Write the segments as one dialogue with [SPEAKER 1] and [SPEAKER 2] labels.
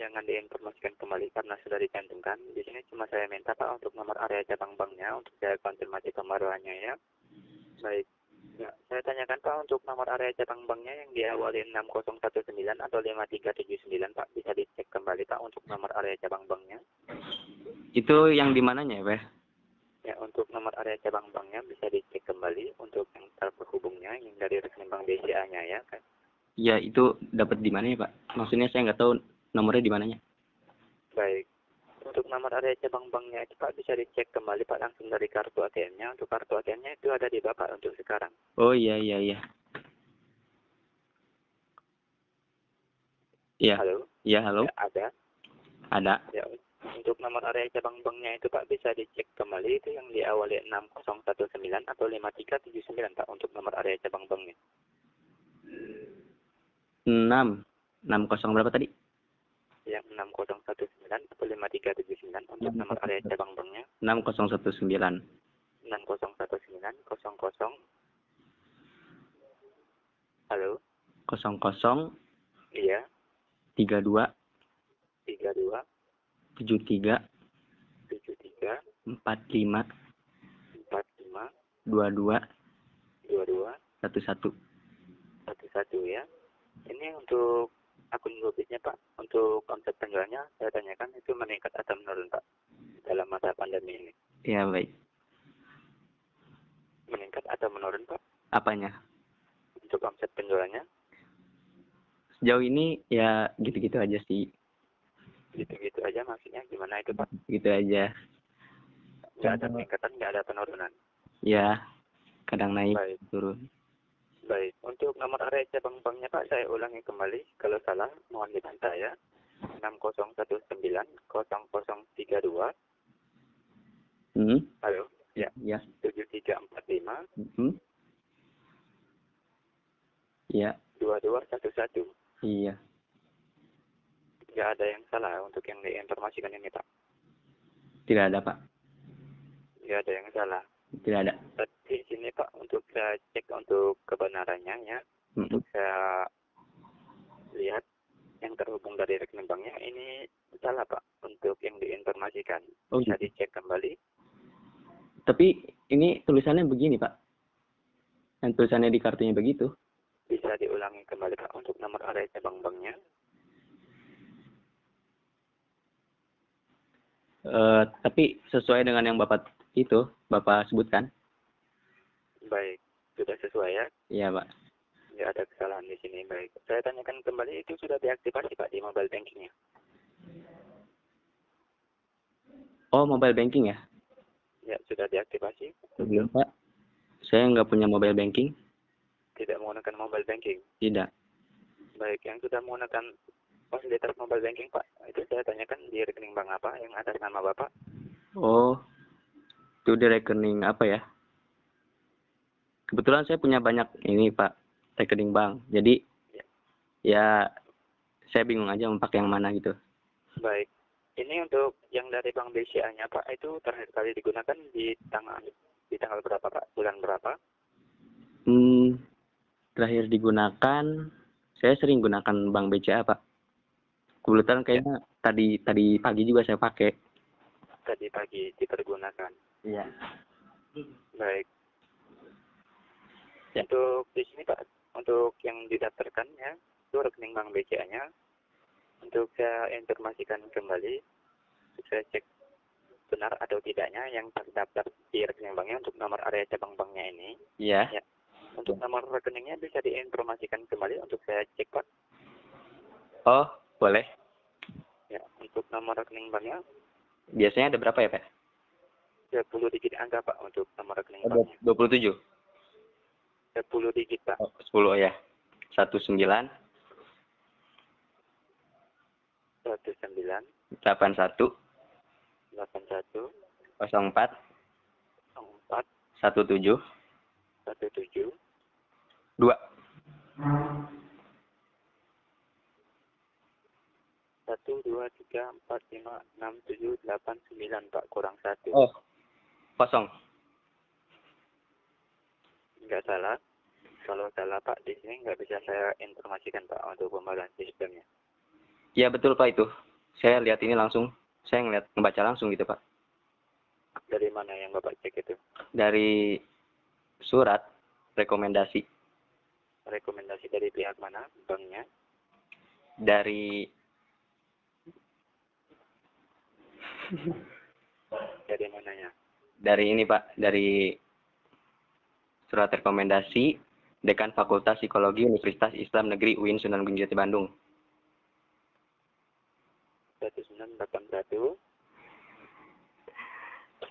[SPEAKER 1] jangan diinformasikan kembali karena sudah dicantumkan. Di sini cuma saya minta Pak untuk nomor area cabang banknya untuk saya konfirmasi pembaruannya ya. Baik. Ya, saya tanyakan Pak untuk nomor area cabang banknya yang diawali 6019 atau 5379 Pak bisa dicek kembali Pak untuk nomor area cabang banknya.
[SPEAKER 2] Itu yang di mananya ya, Pak?
[SPEAKER 1] Ya, untuk nomor area cabang banknya bisa dicek kembali untuk yang terhubungnya yang dari rekening bank BCA-nya ya. Kan?
[SPEAKER 2] Ya, itu dapat di mana ya, Pak? Maksudnya saya nggak tahu nomornya di mananya.
[SPEAKER 1] Baik. Untuk nomor area cabang banknya itu Pak bisa dicek kembali Pak langsung dari kartu ATM-nya. Untuk kartu ATM-nya itu ada di Bapak untuk sekarang.
[SPEAKER 2] Oh, iya, iya, iya. Iya,
[SPEAKER 1] Halo.
[SPEAKER 2] iya, halo.
[SPEAKER 1] Ya, ada.
[SPEAKER 2] Ada.
[SPEAKER 1] Ya, untuk nomor area cabang banknya itu Pak bisa dicek kembali itu yang diawali 6019 atau 5379 Pak untuk nomor area cabang banknya.
[SPEAKER 2] 6. 60 berapa tadi?
[SPEAKER 1] Yang 6019 atau 5379 untuk nomor area cabang banknya
[SPEAKER 2] 6019.
[SPEAKER 1] 6019 00 Halo,
[SPEAKER 2] 00
[SPEAKER 1] iya,
[SPEAKER 2] 32
[SPEAKER 1] 32
[SPEAKER 2] 73
[SPEAKER 1] 73
[SPEAKER 2] 45
[SPEAKER 1] 45
[SPEAKER 2] 22
[SPEAKER 1] 22
[SPEAKER 2] 11.
[SPEAKER 1] satu-satu ya. Ini untuk akun Gopitnya Pak, untuk omset penjualnya saya tanyakan itu meningkat atau menurun Pak dalam masa pandemi ini?
[SPEAKER 2] Ya, baik.
[SPEAKER 1] Meningkat atau menurun Pak
[SPEAKER 2] Apanya?
[SPEAKER 1] untuk omset penjualannya?
[SPEAKER 2] Sejauh ini ya gitu-gitu aja sih.
[SPEAKER 1] Gitu-gitu aja maksudnya gimana itu Pak?
[SPEAKER 2] Gitu aja.
[SPEAKER 1] Nggak ada peningkatan, nggak ada penurunan.
[SPEAKER 2] Ya, kadang naik,
[SPEAKER 1] Baik.
[SPEAKER 2] turun.
[SPEAKER 1] Baik, untuk nomor area cabang banknya Pak, saya ulangi kembali. Kalau salah, mohon dibantah ya. 6019 0032
[SPEAKER 2] Hmm?
[SPEAKER 1] Halo, ya,
[SPEAKER 2] Ya.
[SPEAKER 1] 7345
[SPEAKER 2] Mhm. Iya,
[SPEAKER 1] 2211
[SPEAKER 2] iya.
[SPEAKER 1] nggak ada yang salah untuk yang diinformasikan ini Pak.
[SPEAKER 2] Tidak ada, Pak.
[SPEAKER 1] Nggak ada yang salah.
[SPEAKER 2] Tidak ada.
[SPEAKER 1] Tapi di sini Pak untuk saya cek untuk kebenarannya ya,
[SPEAKER 2] Mhm.
[SPEAKER 1] saya lihat yang terhubung dari rekening banknya ini salah Pak untuk yang diinformasikan.
[SPEAKER 2] Oh,
[SPEAKER 1] Bisa
[SPEAKER 2] gitu.
[SPEAKER 1] dicek kembali.
[SPEAKER 2] Tapi ini tulisannya begini, Pak. Yang tulisannya di kartunya begitu.
[SPEAKER 1] Bisa diulangi kembali Pak untuk nomor area cabang banknya.
[SPEAKER 2] Eh, tapi sesuai dengan yang Bapak itu, Bapak sebutkan.
[SPEAKER 1] Baik, sudah sesuai ya.
[SPEAKER 2] Iya, Pak.
[SPEAKER 1] Nggak ada kesalahan di sini. Baik. Saya tanyakan kembali itu sudah diaktifasi Pak di mobile bankingnya.
[SPEAKER 2] Oh, mobile banking ya?
[SPEAKER 1] Ya, sudah diaktifasi.
[SPEAKER 2] Belum, Pak. Saya nggak punya mobile banking.
[SPEAKER 1] Tidak menggunakan mobile banking.
[SPEAKER 2] Tidak.
[SPEAKER 1] Baik, yang sudah menggunakan fasilitas mobile banking, Pak, itu saya tanyakan di rekening bank apa yang atas nama Bapak?
[SPEAKER 2] Oh, itu di rekening apa ya? Kebetulan saya punya banyak ini Pak, rekening bank. Jadi ya saya bingung aja mau pakai yang mana gitu.
[SPEAKER 1] Baik. Ini untuk yang dari Bank BCA-nya, Pak, itu terakhir kali digunakan di tanggal di tanggal berapa, Pak? Bulan berapa?
[SPEAKER 2] Hmm, terakhir digunakan, saya sering gunakan bank BCA Pak. Kebetulan kayaknya tadi tadi pagi juga saya pakai.
[SPEAKER 1] Tadi pagi dipergunakan.
[SPEAKER 2] Iya.
[SPEAKER 1] Baik.
[SPEAKER 2] Ya.
[SPEAKER 1] Untuk di sini, Pak, untuk yang didaftarkan ya, itu rekening Bank BCA-nya. Untuk saya informasikan kembali, saya cek benar atau tidaknya yang terdaftar di rekening banknya untuk nomor area cabang banknya ini.
[SPEAKER 2] Iya.
[SPEAKER 1] Untuk nomor rekeningnya bisa diinformasikan kembali untuk saya cek, Pak.
[SPEAKER 2] Oh, boleh.
[SPEAKER 1] Ya, untuk nomor rekening banknya,
[SPEAKER 2] Biasanya ada berapa ya Pak?
[SPEAKER 1] 10 digit angka, Pak, untuk nomor rekening banknya.
[SPEAKER 2] 27.
[SPEAKER 1] 10 digit, Pak.
[SPEAKER 2] Oh, 10 ya. 19
[SPEAKER 1] 19,
[SPEAKER 2] 81
[SPEAKER 1] 81,
[SPEAKER 2] 04
[SPEAKER 1] 4,
[SPEAKER 2] 17
[SPEAKER 1] 17,
[SPEAKER 2] 2
[SPEAKER 1] satu dua tiga empat lima enam tujuh delapan sembilan pak kurang satu
[SPEAKER 2] oh kosong
[SPEAKER 1] nggak salah kalau salah pak di sini nggak bisa saya informasikan pak untuk pembaruan sistemnya
[SPEAKER 2] ya betul pak itu Saya lihat ini langsung, saya ngeliat ngebaca langsung gitu Pak.
[SPEAKER 1] Dari mana yang Bapak cek itu?
[SPEAKER 2] Dari surat rekomendasi
[SPEAKER 1] Rekomendasi dari pihak mana? Banknya?
[SPEAKER 2] dari
[SPEAKER 1] Dari mananya?
[SPEAKER 2] dari ini Pak, dari surat rekomendasi Dekan Fakultas Psikologi Universitas Islam Negeri UIN Sunan Gunung Jati Bandung.
[SPEAKER 1] 1981
[SPEAKER 2] 8104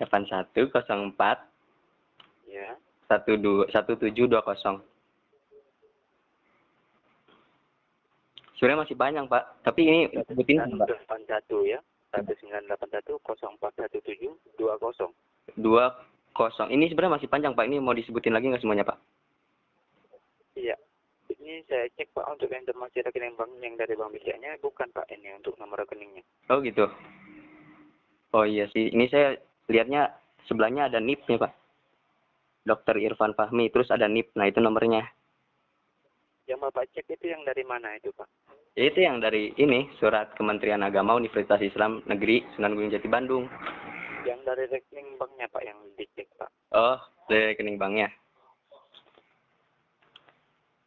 [SPEAKER 1] ya
[SPEAKER 2] 12 1720. Sebenarnya masih panjang, Pak. Tapi ini sebutin Pak.
[SPEAKER 1] 1981 ya 1981 0417 20
[SPEAKER 2] dua kosong. Ini sebenarnya masih panjang Pak. Ini mau disebutin lagi nggak semuanya Pak?
[SPEAKER 1] Iya. Ini saya cek Pak untuk informasi rekening bank yang dari bank bijaknya bukan Pak ini untuk nomor rekeningnya.
[SPEAKER 2] Oh gitu. Oh iya sih. Ini saya lihatnya sebelahnya ada NIP-nya Pak. Dokter Irfan Fahmi. Terus ada NIP. Nah itu nomornya.
[SPEAKER 1] Yang Bapak cek itu yang dari mana itu Pak?
[SPEAKER 2] Ya, Itu yang dari ini surat Kementerian Agama Universitas Islam Negeri Sunan Gunung Jati Bandung.
[SPEAKER 1] Yang dari rekening banknya Pak yang dicek Pak.
[SPEAKER 2] Oh dari rekening banknya.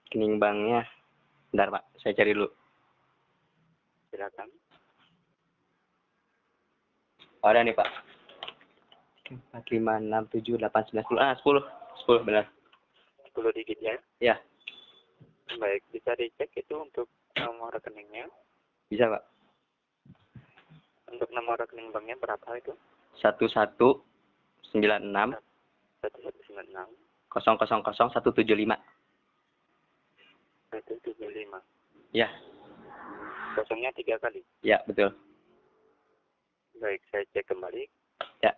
[SPEAKER 2] Rekening banknya. Bentar Pak. Saya cari dulu.
[SPEAKER 1] Silakan.
[SPEAKER 2] Oh, ada nih Pak. Empat lima enam tujuh delapan sembilan sepuluh. Ah sepuluh. Sepuluh benar.
[SPEAKER 1] 10 digit ya.
[SPEAKER 2] Ya
[SPEAKER 1] Baik, bisa dicek itu untuk nomor rekeningnya.
[SPEAKER 2] bisa Pak.
[SPEAKER 1] Untuk nomor rekening banknya berapa itu?
[SPEAKER 2] satu satu sembilan enam
[SPEAKER 1] 1196
[SPEAKER 2] kosong kosong kosong satu tujuh lima
[SPEAKER 1] 175.
[SPEAKER 2] ya
[SPEAKER 1] Kosongnya tiga kali.
[SPEAKER 2] ya betul
[SPEAKER 1] Baik, saya cek kembali.
[SPEAKER 2] Ya.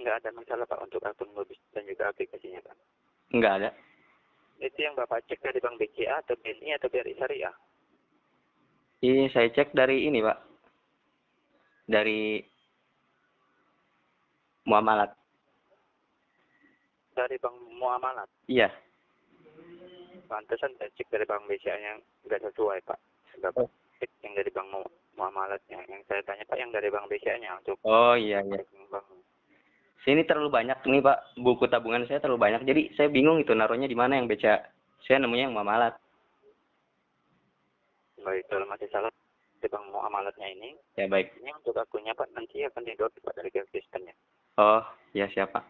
[SPEAKER 1] Nggak ada masalah Pak untuk akun Mobis dan juga aplikasinya Pak.
[SPEAKER 2] nggak ada
[SPEAKER 1] Itu yang Bapak cek dari Bank BCA atau BNI atau BRI Syariah.
[SPEAKER 2] ini saya cek dari ini pak dari muamalat
[SPEAKER 1] Dari Bank Muamalat.
[SPEAKER 2] iya
[SPEAKER 1] Pantesan saya cek dari Bank BCA yang nggak sesuai Pak. Bapak cek yang dari Bank Mu- Muamalatnya. Yang saya tanya Pak yang dari Bank BCA-nya untuk
[SPEAKER 2] oh iya iya
[SPEAKER 1] Bank.
[SPEAKER 2] sini terlalu banyak nih pak buku tabungan saya terlalu banyak jadi saya bingung itu naruhnya di mana yang beca saya nemunya yang muamalat
[SPEAKER 1] Baik, kalau masih salah di Bank Muamalatnya ini,
[SPEAKER 2] ya baik
[SPEAKER 1] ini untuk akunnya Pak nanti akan di Pak dari Bank sistemnya.
[SPEAKER 2] oh ya siapa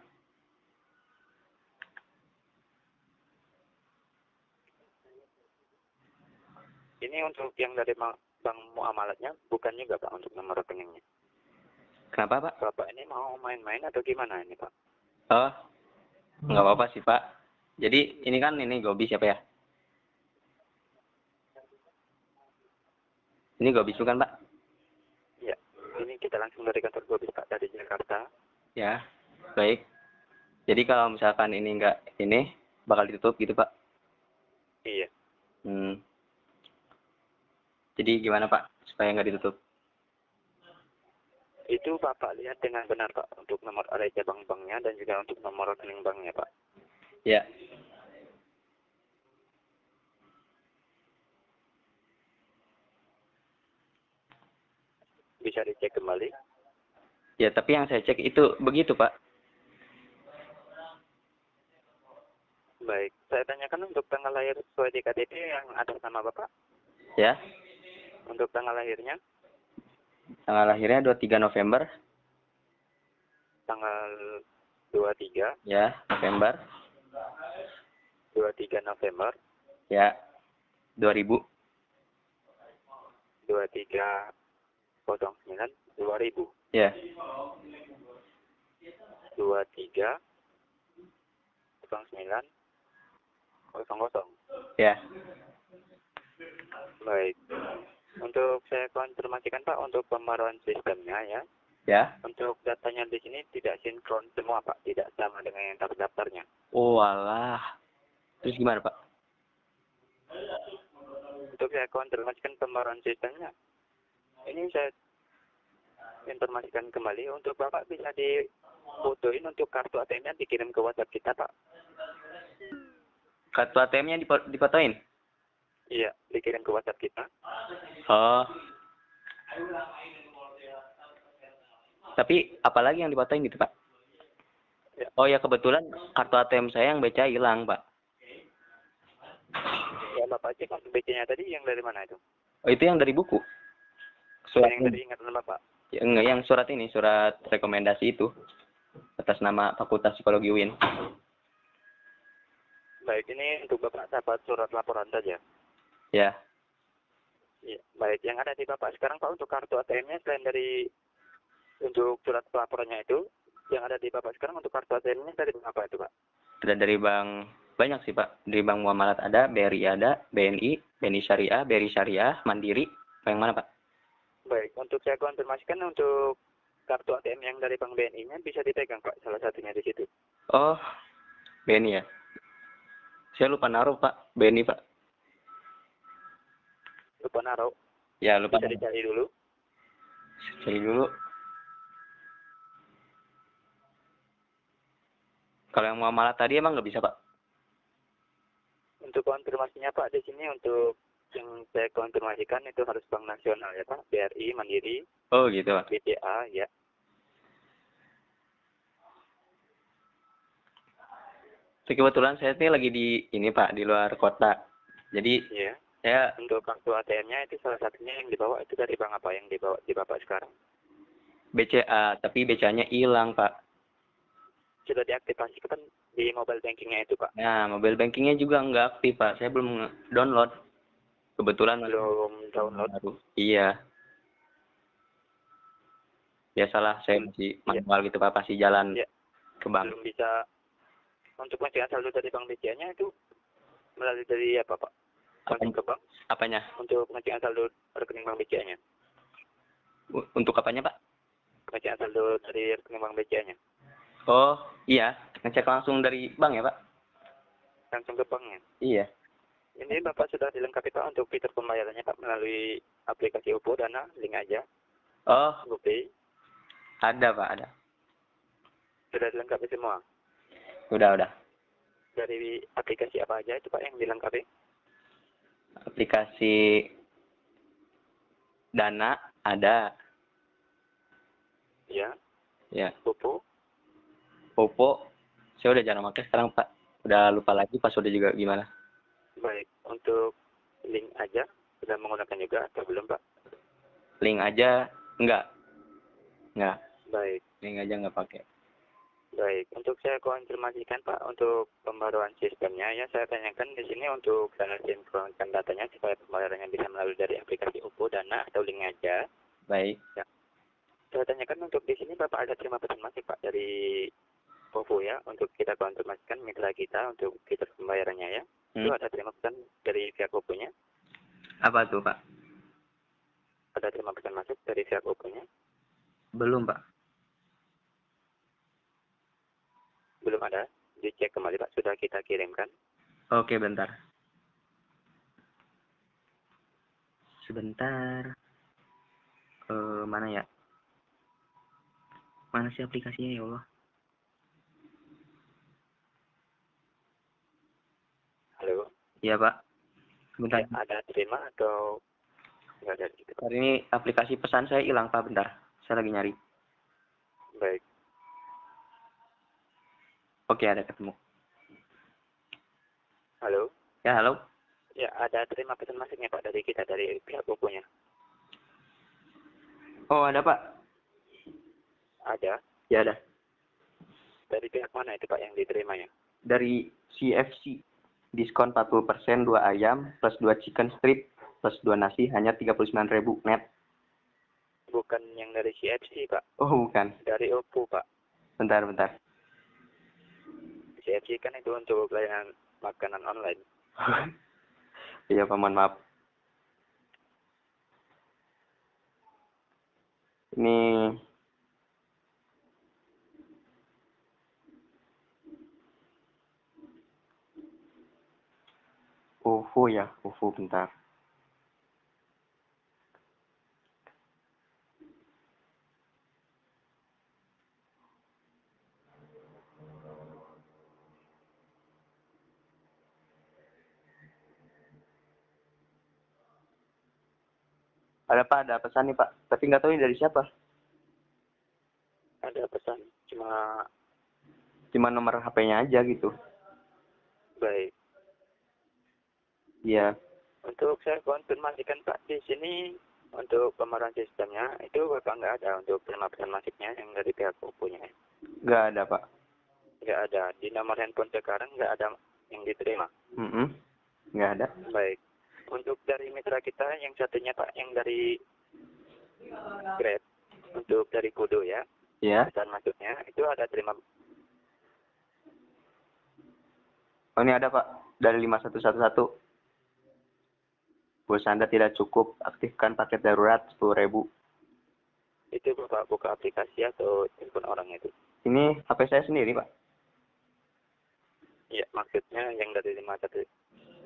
[SPEAKER 1] Ini untuk yang dari ma- bank muamalatnya bukan juga Pak untuk nomor rekeningnya.
[SPEAKER 2] kenapa pak
[SPEAKER 1] Bapak ini mau main-main atau gimana ini Pak?
[SPEAKER 2] oh nggak apa apa sih pak jadi ini kan ini gobi siapa ya ini gobi bukan pak
[SPEAKER 1] Ya, ini kita langsung dari kantor Gobis Pak dari Jakarta.
[SPEAKER 2] Ya, baik. Jadi kalau misalkan ini enggak ini bakal ditutup gitu, Pak.
[SPEAKER 1] Iya.
[SPEAKER 2] Hmm. Jadi gimana, Pak? Supaya nggak ditutup.
[SPEAKER 1] Itu Bapak lihat dengan benar Pak untuk nomor area bank-banknya dan juga untuk nomor rekening banknya Pak.
[SPEAKER 2] Ya.
[SPEAKER 1] Bisa dicek kembali.
[SPEAKER 2] Ya, tapi yang saya cek itu begitu, Pak.
[SPEAKER 1] Baik, saya tanyakan untuk tanggal lahir sesuai di KTP yang ada sama Bapak.
[SPEAKER 2] Ya.
[SPEAKER 1] Untuk tanggal lahirnya,
[SPEAKER 2] Tanggal lahirnya 23 November,
[SPEAKER 1] tanggal 23,
[SPEAKER 2] ya, November,
[SPEAKER 1] 23 November,
[SPEAKER 2] ya. 2000,
[SPEAKER 1] 23 09 2000.
[SPEAKER 2] ya.
[SPEAKER 1] dua tiga kosong sembilan kosong kosong
[SPEAKER 2] Ya.
[SPEAKER 1] baik untuk saya konfirmasikan pak untuk pemaruan sistemnya ya
[SPEAKER 2] Ya.
[SPEAKER 1] untuk datanya di sini tidak sinkron semua pak tidak sama dengan yang terdaftarnya
[SPEAKER 2] Oh, alah. Terus gimana, Pak?
[SPEAKER 1] untuk saya konfirmasikan pemaruan sistemnya ini saya informasikan kembali untuk bapak bisa difotoin untuk kartu ATM-nya dikirim ke WhatsApp kita pak
[SPEAKER 2] Kartu ATM-nya dipo- dipotoin?
[SPEAKER 1] Iya, dikirim ke WhatsApp kita.
[SPEAKER 2] Oh. Tapi apalagi yang dipatahin gitu, Pak?
[SPEAKER 1] Ya.
[SPEAKER 2] Oh ya kebetulan kartu ATM saya yang BCA hilang, Pak.
[SPEAKER 1] Ya, Bapak cek kartu BC-nya tadi yang dari mana itu?
[SPEAKER 2] Oh, itu yang dari buku. Surat
[SPEAKER 1] Yang dari ingatan Bapak.
[SPEAKER 2] yang, Ya, yang surat ini, surat rekomendasi itu atas nama Fakultas Psikologi UIN.
[SPEAKER 1] Baik, ini untuk Bapak sahabat surat laporan saja.
[SPEAKER 2] Ya.
[SPEAKER 1] Iya, baik. Yang ada di Bapak sekarang Pak untuk kartu ATM-nya selain dari untuk surat pelaporannya itu, yang ada di Bapak sekarang untuk kartu ATM-nya dari apa itu Pak?
[SPEAKER 2] Sudah dari Bank banyak sih, Pak. Dari Bank Muamalat ada, BRI ada, BNI, BNI Syariah, BRI Syariah, Mandiri. Yang mana, Pak?
[SPEAKER 1] Baik, untuk saya konfirmasikan untuk kartu ATM yang dari Bank BNI-nya bisa dipegang Pak, salah satunya di situ.
[SPEAKER 2] Oh, BNI ya? Saya lupa naruh, Pak. BNI, Pak.
[SPEAKER 1] Lupa naruh,
[SPEAKER 2] Ya, lupa.
[SPEAKER 1] bisa dicari dulu.
[SPEAKER 2] Cari dulu. Kalau yang muamalah tadi emang nggak bisa, Pak?
[SPEAKER 1] Untuk konfirmasinya Pak di sini untuk yang saya konfirmasikan itu harus Bank Nasional ya Pak, BRI, Mandiri,
[SPEAKER 2] Oh, gitu, Pak.
[SPEAKER 1] BCA ya.
[SPEAKER 2] Tapi kebetulan saya ini lagi di ini, Pak, di luar kota. Jadi,
[SPEAKER 1] Iya.
[SPEAKER 2] saya
[SPEAKER 1] Untuk kartu ATM-nya itu salah satunya yang dibawa itu dari Bank apa yang dibawa di Bapak sekarang?
[SPEAKER 2] BCA, tapi BCA-nya hilang, Pak.
[SPEAKER 1] Sudah diaktifasikan di mobile banking-nya itu Pak.
[SPEAKER 2] Nah, mobile banking-nya juga nggak aktif, Pak. Saya belum download. Kebetulan
[SPEAKER 1] Belum download.
[SPEAKER 2] baru. Iya. Biasalah, saya masih manual gitu, Pak. Pasti jalan
[SPEAKER 1] Iya.
[SPEAKER 2] ke bank.
[SPEAKER 1] Belum bisa untuk mencegah saldo dari Bank BCA-nya itu melalui dari apa Pak?
[SPEAKER 2] Apa-
[SPEAKER 1] Langsung ke bank
[SPEAKER 2] Apanya?
[SPEAKER 1] untuk pengecekan saldo rekening Bank BCA-nya.
[SPEAKER 2] U- Untuk apanya, Pak?
[SPEAKER 1] Pengecekan saldo dari rekening Bank BCA-nya.
[SPEAKER 2] Oh, iya. Ngecek langsung dari bank ya, Pak?
[SPEAKER 1] Langsung ke banknya.
[SPEAKER 2] Iya.
[SPEAKER 1] Ini Bapak sudah dilengkapi Pak untuk fitur pembayarannya Pak melalui aplikasi Oppo Dana, link aja,
[SPEAKER 2] Oh,
[SPEAKER 1] GoPay,
[SPEAKER 2] ada, Pak, ada.
[SPEAKER 1] sudah dilengkapi semua.
[SPEAKER 2] Udah, udah.
[SPEAKER 1] Dari aplikasi apa aja itu Pak yang dilengkapi?
[SPEAKER 2] Aplikasi Dana ada.
[SPEAKER 1] Ya,
[SPEAKER 2] Ya,
[SPEAKER 1] Oppo,
[SPEAKER 2] Popo. Saya udah jarang pakai sekarang, Pak. Udah lupa lagi passwordnya juga gimana.
[SPEAKER 1] baik. Untuk link aja, sudah menggunakan juga atau belum Pak?
[SPEAKER 2] Link aja enggak. Enggak.
[SPEAKER 1] Baik,
[SPEAKER 2] Link aja enggak pakai.
[SPEAKER 1] baik. Untuk saya konfirmasikan Pak, untuk pembaruan sistemnya ya saya tanyakan di sini untuk saya sinkronkan datanya supaya pembayarannya bisa melalui dari aplikasi Oppo Dana atau link aja.
[SPEAKER 2] Baik.
[SPEAKER 1] Saya tanyakan untuk di sini Bapak ada terima pesan masih Pak dari OVO ya untuk kita konfirmasikan mitra kita untuk fitur pembayarannya ya.
[SPEAKER 2] Hmm.
[SPEAKER 1] Itu ada terima pesan dari pihak OVO-nya,
[SPEAKER 2] Apa tuh, Pak?
[SPEAKER 1] ada terima pesan masuk dari pihak OVO-nya.
[SPEAKER 2] Belum, Pak.
[SPEAKER 1] Belum ada, dicek kembali Pak, sudah kita kirimkan.
[SPEAKER 2] Oke, bentar. Sebentar. Ke mana ya? Mana sih aplikasinya ya Allah?
[SPEAKER 1] Halo,
[SPEAKER 2] Iya, Pak. Bentar.
[SPEAKER 1] ya, ada terima atau enggak ada gitu.
[SPEAKER 2] Hari ini aplikasi pesan saya hilang, Pak. Bentar. Saya lagi nyari.
[SPEAKER 1] Baik,
[SPEAKER 2] Oke, ada ketemu.
[SPEAKER 1] halo.
[SPEAKER 2] Ya, halo.
[SPEAKER 1] Ya, ada terima pesan masuknya Pak dari kita dari pihak OVO-nya.
[SPEAKER 2] Oh, ada, Pak.
[SPEAKER 1] Ada.
[SPEAKER 2] Ya, ada.
[SPEAKER 1] Dari pihak mana itu Pak yang diterimanya?
[SPEAKER 2] Dari CFC. Diskon 40% 2 ayam plus 2 chicken strip plus 2 nasi hanya 39.000 net.
[SPEAKER 1] Bukan yang dari CFC Pak,
[SPEAKER 2] Oh, bukan.
[SPEAKER 1] dari OVO Pak.
[SPEAKER 2] Bentar, bentar.
[SPEAKER 1] CFC kan itu untuk layanan makanan online.
[SPEAKER 2] Iya, Pak, mohon maaf. Ini UFO ya, UFO bentar. Ada Pak, ada pesan nih Pak. Tapi nggak tahu ini dari siapa.
[SPEAKER 1] Ada pesan cuma
[SPEAKER 2] Cuma nomor HP-nya aja gitu.
[SPEAKER 1] baik.
[SPEAKER 2] Iya.
[SPEAKER 1] Untuk saya konfirmasikan Pak di sini untuk pemeran sistemnya itu Bapak nggak ada untuk penerima masuknya yang dari pihak punya
[SPEAKER 2] Nggak ada Pak.
[SPEAKER 1] nggak ada di nomor handphone sekarang nggak ada yang diterima
[SPEAKER 2] Mm-mm. Nggak ada.
[SPEAKER 1] baik untuk dari mitra kita yang satunya Pak yang dari Grab untuk dari Kudo ya
[SPEAKER 2] Iya.
[SPEAKER 1] pesan masuknya itu ada terima
[SPEAKER 2] Oh ini ada Pak. Dari 5111. Bos Anda tidak cukup. Aktifkan paket darurat 10.000.
[SPEAKER 1] itu Bapak buka aplikasi atau telepon orang itu
[SPEAKER 2] Ini HP saya sendiri Pak.
[SPEAKER 1] Iya, maksudnya yang dari 51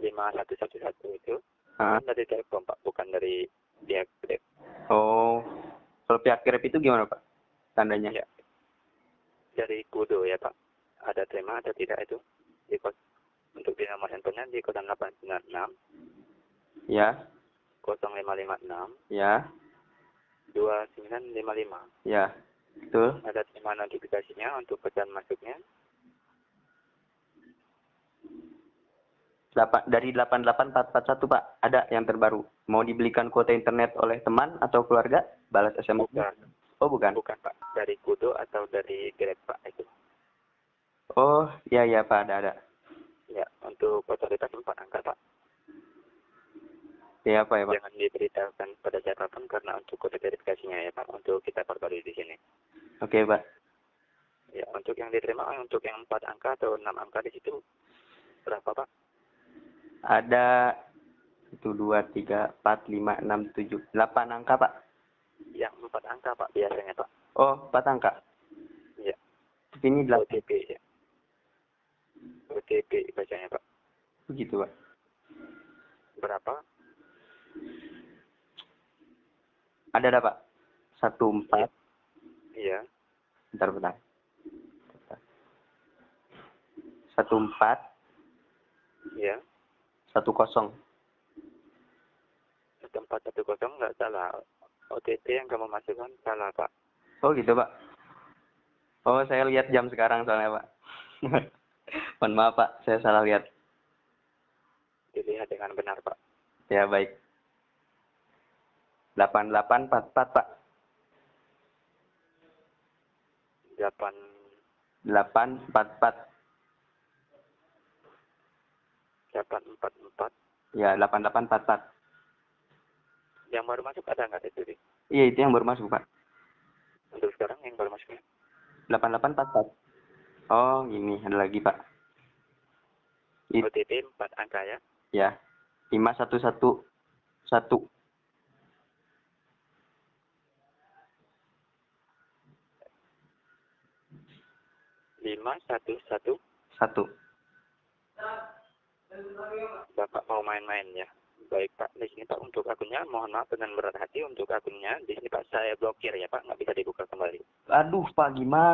[SPEAKER 1] 5111 itu
[SPEAKER 2] Ah.
[SPEAKER 1] kan dari Telkom Pak, bukan dari pihak Grab.
[SPEAKER 2] Oh. Kalau pihak Grab itu gimana Pak? Tandanya.
[SPEAKER 1] Iya. Dari Kudo ya Pak. Ada terima atau tidak itu? Di kos untuk di nomor handphonenya di 0896
[SPEAKER 2] Ya.
[SPEAKER 1] 0556
[SPEAKER 2] Ya.
[SPEAKER 1] 2955.
[SPEAKER 2] Ya. Betul.
[SPEAKER 1] Ada terima notifikasinya untuk pesan masuknya.
[SPEAKER 2] Delapan, dari 88441 Pak, ada yang terbaru. Mau dibelikan kuota internet oleh teman atau keluarga? Balas SMS. -nya.
[SPEAKER 1] Bukan,
[SPEAKER 2] Oh, bukan.
[SPEAKER 1] bukan Pak. Dari Kudo atau dari Grab Pak itu.
[SPEAKER 2] Oh, iya iya Pak, ada ada.
[SPEAKER 1] Ya, untuk otoritas empat angka Pak.
[SPEAKER 2] Iya Pak ya Pak.
[SPEAKER 1] jangan diberitakan pada siapapun karena untuk kode verifikasinya ya Pak untuk kita perbarui di sini.
[SPEAKER 2] Oke Pak.
[SPEAKER 1] Ya untuk yang diterima untuk yang empat angka atau enam angka di situ berapa Pak?
[SPEAKER 2] Ada 1 2 3 4 5 6 7 8 angka Pak.
[SPEAKER 1] Yang empat angka Pak biasanya Pak.
[SPEAKER 2] Oh, 4 angka.
[SPEAKER 1] Iya.
[SPEAKER 2] Tapi ini 8
[SPEAKER 1] OTP ya. OTP biasanya Pak.
[SPEAKER 2] begitu Pak.
[SPEAKER 1] Berapa?
[SPEAKER 2] Ada ada Pak. 1 4
[SPEAKER 1] Iya.
[SPEAKER 2] bentar bentar. Bentar. 1 4
[SPEAKER 1] Iya.
[SPEAKER 2] 1 0.
[SPEAKER 1] Satu empat satu kosong nggak salah. OTP yang kamu masukkan salah Pak.
[SPEAKER 2] Oh gitu pak. Oh saya lihat jam sekarang soalnya pak. Mohon maaf pak, saya salah lihat.
[SPEAKER 1] Dilihat dengan benar Pak.
[SPEAKER 2] Ya baik. 8844 pak.
[SPEAKER 1] Delapan
[SPEAKER 2] 844.
[SPEAKER 1] delapan empat empat.
[SPEAKER 2] Ya 8844.
[SPEAKER 1] Yang baru masuk ada nggak itu Di?
[SPEAKER 2] Iya itu yang baru masuk pak.
[SPEAKER 1] Untuk sekarang yang baru ya? masuknya
[SPEAKER 2] 8844. Oh ini ada lagi pak. It-
[SPEAKER 1] OTP empat angka ya.
[SPEAKER 2] Ya. 5111. Satu.
[SPEAKER 1] lima satu satu
[SPEAKER 2] Satu.
[SPEAKER 1] bapak mau main-main ya baik pak di sini pak untuk akunnya mohon maaf dengan berat hati untuk akunnya di sini pak saya blokir ya pak nggak bisa dibuka kembali
[SPEAKER 2] Aduh pak gimana?